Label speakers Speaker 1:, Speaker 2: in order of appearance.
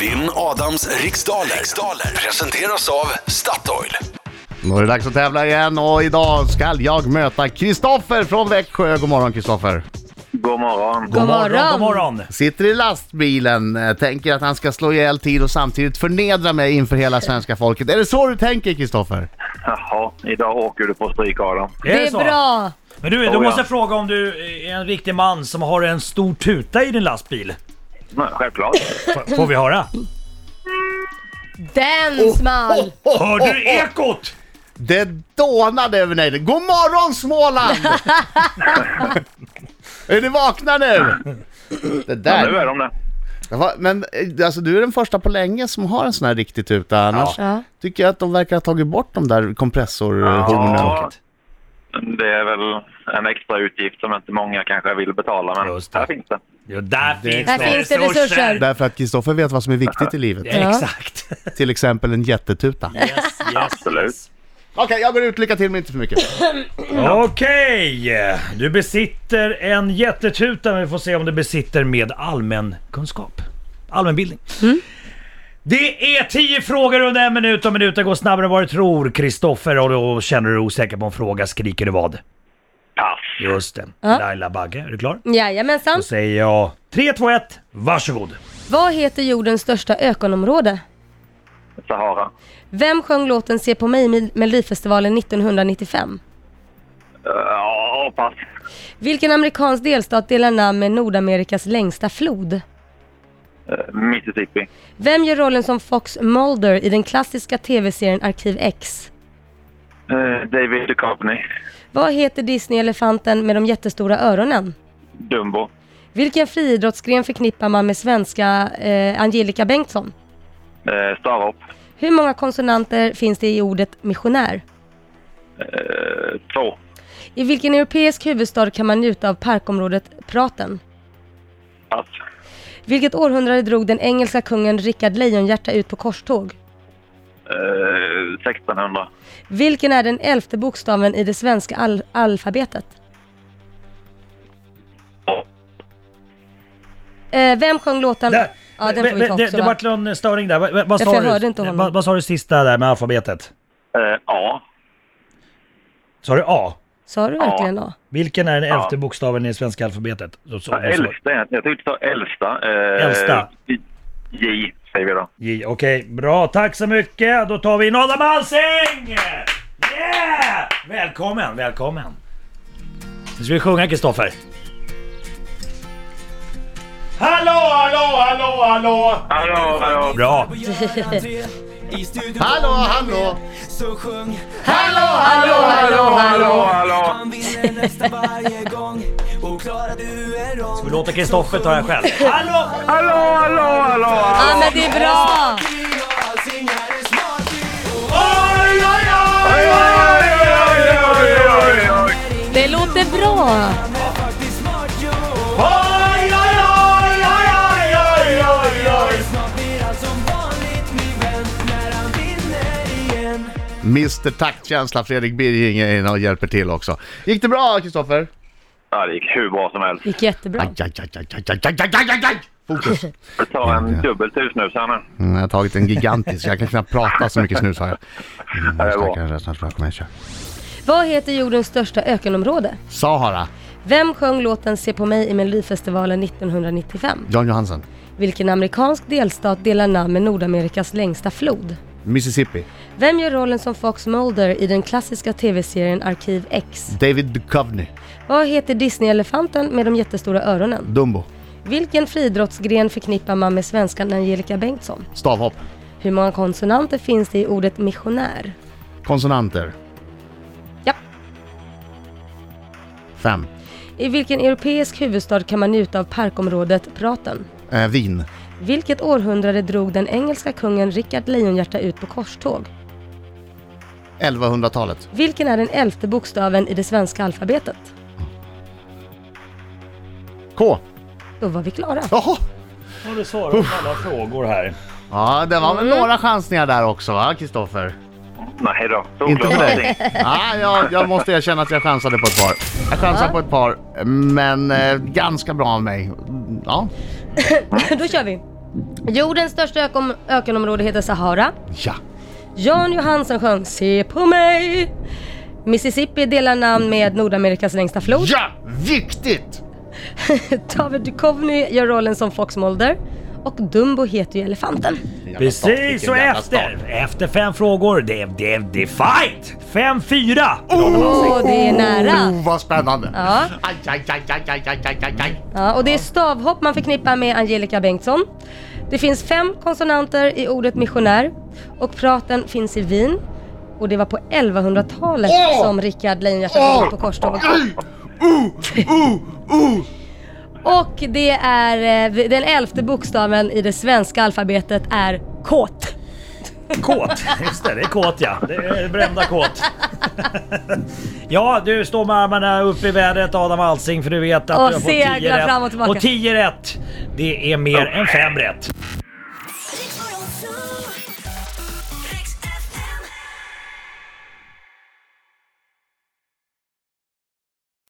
Speaker 1: Vinn Adams riksdaler. riksdaler presenteras av Statoil.
Speaker 2: Då är det dags att tävla igen och idag ska jag möta Kristoffer från Växjö. God morgon Kristoffer.
Speaker 3: God morgon.
Speaker 4: God morgon.
Speaker 5: God morgon.
Speaker 2: Sitter i lastbilen, eh, tänker att han ska slå ihjäl tid och samtidigt förnedra mig inför hela svenska folket. Är det så du tänker Kristoffer?
Speaker 3: Jaha, idag åker du på stryk Adam.
Speaker 4: Det är
Speaker 5: så?
Speaker 4: bra.
Speaker 5: Men du, då
Speaker 3: Oh, ja.
Speaker 5: måste jag fråga om du är en riktig man som har en stor tuta i din lastbil.
Speaker 3: Nej, självklart.
Speaker 5: F- Får vi höra?
Speaker 4: Den small.
Speaker 5: Hörde du ekot?
Speaker 2: Det dånade över nejden. God morgon Småland! är ni vakna nu? Det
Speaker 3: Ja, nu
Speaker 2: där.
Speaker 3: är de det.
Speaker 2: Va, Men eh, alltså, du är den första på länge som har en sån här riktig tuta. Annars
Speaker 4: Ja.
Speaker 2: tycker jag att de verkar ha tagit bort de där kompressorhornen.
Speaker 3: Ja, det är väl en extra utgift som inte många kanske vill betala, men
Speaker 5: Just det.
Speaker 3: här finns det.
Speaker 5: Jo, där finns
Speaker 4: Där
Speaker 5: det
Speaker 4: finns det resurser.
Speaker 2: Därför att Kristoffer vet vad som är viktigt i livet.
Speaker 5: Ja. Exakt.
Speaker 2: Till exempel en jättetuta. Okej,
Speaker 5: Yes, yes,
Speaker 3: Absolut.
Speaker 5: yes.
Speaker 2: jag går ut. Lycka till men inte för mycket.
Speaker 5: Okej, du besitter en jättetuta men vi får se om du besitter med allmän kunskap. Allmänbildning.
Speaker 4: Mm.
Speaker 5: Det är 10 frågor under en minut och minuten går snabbare än vad du tror Kristoffer och då känner du dig osäker på en fråga skriker du vad?
Speaker 3: Pass.
Speaker 5: Just det. Laila Bagge, är du klar?
Speaker 4: Jajamensan.
Speaker 5: Då säger jag 3, 2, 1, varsågod.
Speaker 4: Vad heter jordens största ökonområde?
Speaker 3: Sahara.
Speaker 4: Vem sjöng låten Se på mig i Melodifestivalen 1995?
Speaker 3: Eh, Ja, pass.
Speaker 4: Vilken amerikansk delstat delar namn med Nordamerikas längsta flod?
Speaker 3: Eh, Mississippi.
Speaker 4: Vem gör rollen som Fox Mulder i den klassiska tv-serien Arkiv X?
Speaker 3: Eh, David Duchovny.
Speaker 4: Vad heter Disney-elefanten med de jättestora öronen?
Speaker 3: Dumbo.
Speaker 4: Vilken friidrottsgren förknippar man med svenska eh, Angelica Bengtsson?
Speaker 3: Eh, Stavhopp.
Speaker 4: Hur många konsonanter finns det i ordet missionär?
Speaker 3: Eh, Två.
Speaker 4: I vilken europeisk huvudstad kan man njuta av parkområdet Praten?
Speaker 3: Pass.
Speaker 4: Vilket århundrade drog den engelska kungen Rickard Lejonhjärta ut på korståg?
Speaker 3: Eh, 1600.
Speaker 4: Vilken är den elfte bokstaven i det svenska al- alfabetet? Eh, vem sjöng låten...
Speaker 5: Där.
Speaker 4: Ja, den får vi ta
Speaker 5: det
Speaker 4: också
Speaker 5: det
Speaker 4: va?
Speaker 5: vart en störning där. Vad, vad, vad,
Speaker 4: Ja,
Speaker 5: sa
Speaker 4: för jag
Speaker 5: du?
Speaker 4: hörde inte honom.
Speaker 5: Vad, vad sa du sista där med alfabetet?
Speaker 3: Eh, A.
Speaker 5: Sa du A?
Speaker 4: Sa du verkligen ja?
Speaker 5: Vilken är den elfte bokstaven i det svenska alfabetet? Så, så,
Speaker 3: Ja, Äldsta. Jag tyckte du sa äldsta. Eh,
Speaker 5: Äldsta.
Speaker 3: J, säger vi då.
Speaker 5: J- Okej, bra. Tack så mycket. Då tar vi in Adam Alsing! Yeah! Välkommen, välkommen. Nu ska vi sjunga Kristoffer. Hallå, hallå, hallå, hallå!
Speaker 3: Hallå, hallå.
Speaker 5: Bra.
Speaker 6: I studion
Speaker 2: Hallå, hallå!
Speaker 6: så sjung
Speaker 3: Hallå, hallå, hallå!
Speaker 6: Han vinner nästan varje gång Och klarar du en rond
Speaker 5: Vi låter Kristoffer ta den själv. Hallå!
Speaker 3: Hallå, hallå, hallå!
Speaker 4: Ja men det är bra!
Speaker 5: Oj, oj, oj!
Speaker 4: Det låter bra!
Speaker 5: Oj, oj, oj, oj, oj, oj, oj, oj!
Speaker 2: Mr Taktkänsla Fredrik Birging är inne och hjälper till också. Gick det bra Kristoffer?
Speaker 3: Ja, det gick hur bra som helst.
Speaker 4: Det gick jättebra.
Speaker 2: Aj, aj, aj, aj, aj, aj, aj, aj, aj, aj. Fokus.
Speaker 3: Jag tar en dubbel tusnus här nu.
Speaker 2: Mm, jag har tagit en gigantisk, jag kan knappt prata så mycket snus har jag. Mm,
Speaker 3: Ja, det var.
Speaker 2: Stackaren, snart bra, kom igen, kör.
Speaker 4: Vad heter jordens största ökenområde?
Speaker 2: Sahara,
Speaker 4: Vem sjöng låten Se på mig i Melodifestivalen 1995?
Speaker 2: John Johansson,
Speaker 4: Vilken amerikansk delstat delar namn med Nordamerikas längsta flod?
Speaker 2: Mississippi,
Speaker 4: Vem gör rollen som Fox Mulder i den klassiska tv-serien Arkiv X?
Speaker 2: David Duchovny,
Speaker 4: Vad heter Disney-elefanten med de jättestora öronen?
Speaker 2: Dumbo,
Speaker 4: Vilken friidrottsgren förknippar man med svenskan Angelica Bengtsson?
Speaker 2: stavhopp,
Speaker 4: Hur många konsonanter finns det i ordet missionär?
Speaker 2: konsonanter,
Speaker 4: Ja.
Speaker 2: fem,
Speaker 4: I vilken europeisk huvudstad kan man njuta av parkområdet Praten?
Speaker 2: eh, vin,
Speaker 4: Vilket århundrade drog den engelska kungen Rickard Lejonhjärta ut på korståg?
Speaker 2: 1100-talet,
Speaker 4: Vilken är den elfte bokstaven i det svenska alfabetet?
Speaker 2: K.
Speaker 4: Då var vi klara.
Speaker 2: Jaha!
Speaker 5: Har du svarat på alla frågor här?
Speaker 2: Ja, det var väl några chansningar där också va, Kristoffer?
Speaker 3: Nej då.
Speaker 2: Inte
Speaker 3: Solklart
Speaker 2: för
Speaker 3: allting.
Speaker 2: dig. Ja, jag, jag måste erkänna att jag chansade på ett par. Jag chansade på ett par, men eh, ganska bra av mig. Ja,
Speaker 4: Då kör vi! Jordens största ökom- ökenområde heter Sahara.
Speaker 2: Ja.
Speaker 4: Jan Johansson sjöng Se på mig. Mississippi delar namn med Nordamerikas längsta flod.
Speaker 2: Ja! Viktigt!
Speaker 4: David Duchovny gör rollen som Fox Mulder. Och Dumbo heter ju elefanten.
Speaker 2: Jävla start,
Speaker 5: Precis,
Speaker 2: vilken
Speaker 5: och
Speaker 2: jävla
Speaker 5: efter,
Speaker 2: start.
Speaker 5: efter fem frågor, det är det, är- det är fight! 5-4!
Speaker 4: Åh, det är nära!
Speaker 2: Oh, vad spännande!
Speaker 4: Ja.
Speaker 2: Aj, aj, aj, aj, aj, aj, aj, aj, aj.
Speaker 4: Ja, och det är stavhopp man förknippar med Angelica Bengtsson. Det finns fem konsonanter i ordet missionär och praten finns i Wien. Och det var på 1100-talet
Speaker 2: Åh!
Speaker 4: som Rickard Lejonhjärta
Speaker 2: Åh!
Speaker 4: kom på korståget.
Speaker 2: Aj! Oh, oh, oh.
Speaker 4: Och det är eh, den elfte bokstaven i det svenska alfabetet är kåt.
Speaker 5: Kåt, just det, det är kåt ja. Det är brända kåt. Ja, du står med armarna upp i vädret Adam Alsing för du vet att
Speaker 4: Och
Speaker 5: du har fått
Speaker 4: seglar
Speaker 5: 10 rätt.
Speaker 4: fram och tillbaka.
Speaker 5: och 10 rätt, det är mer än 5 rätt.
Speaker 7: Riks Morgonzoo.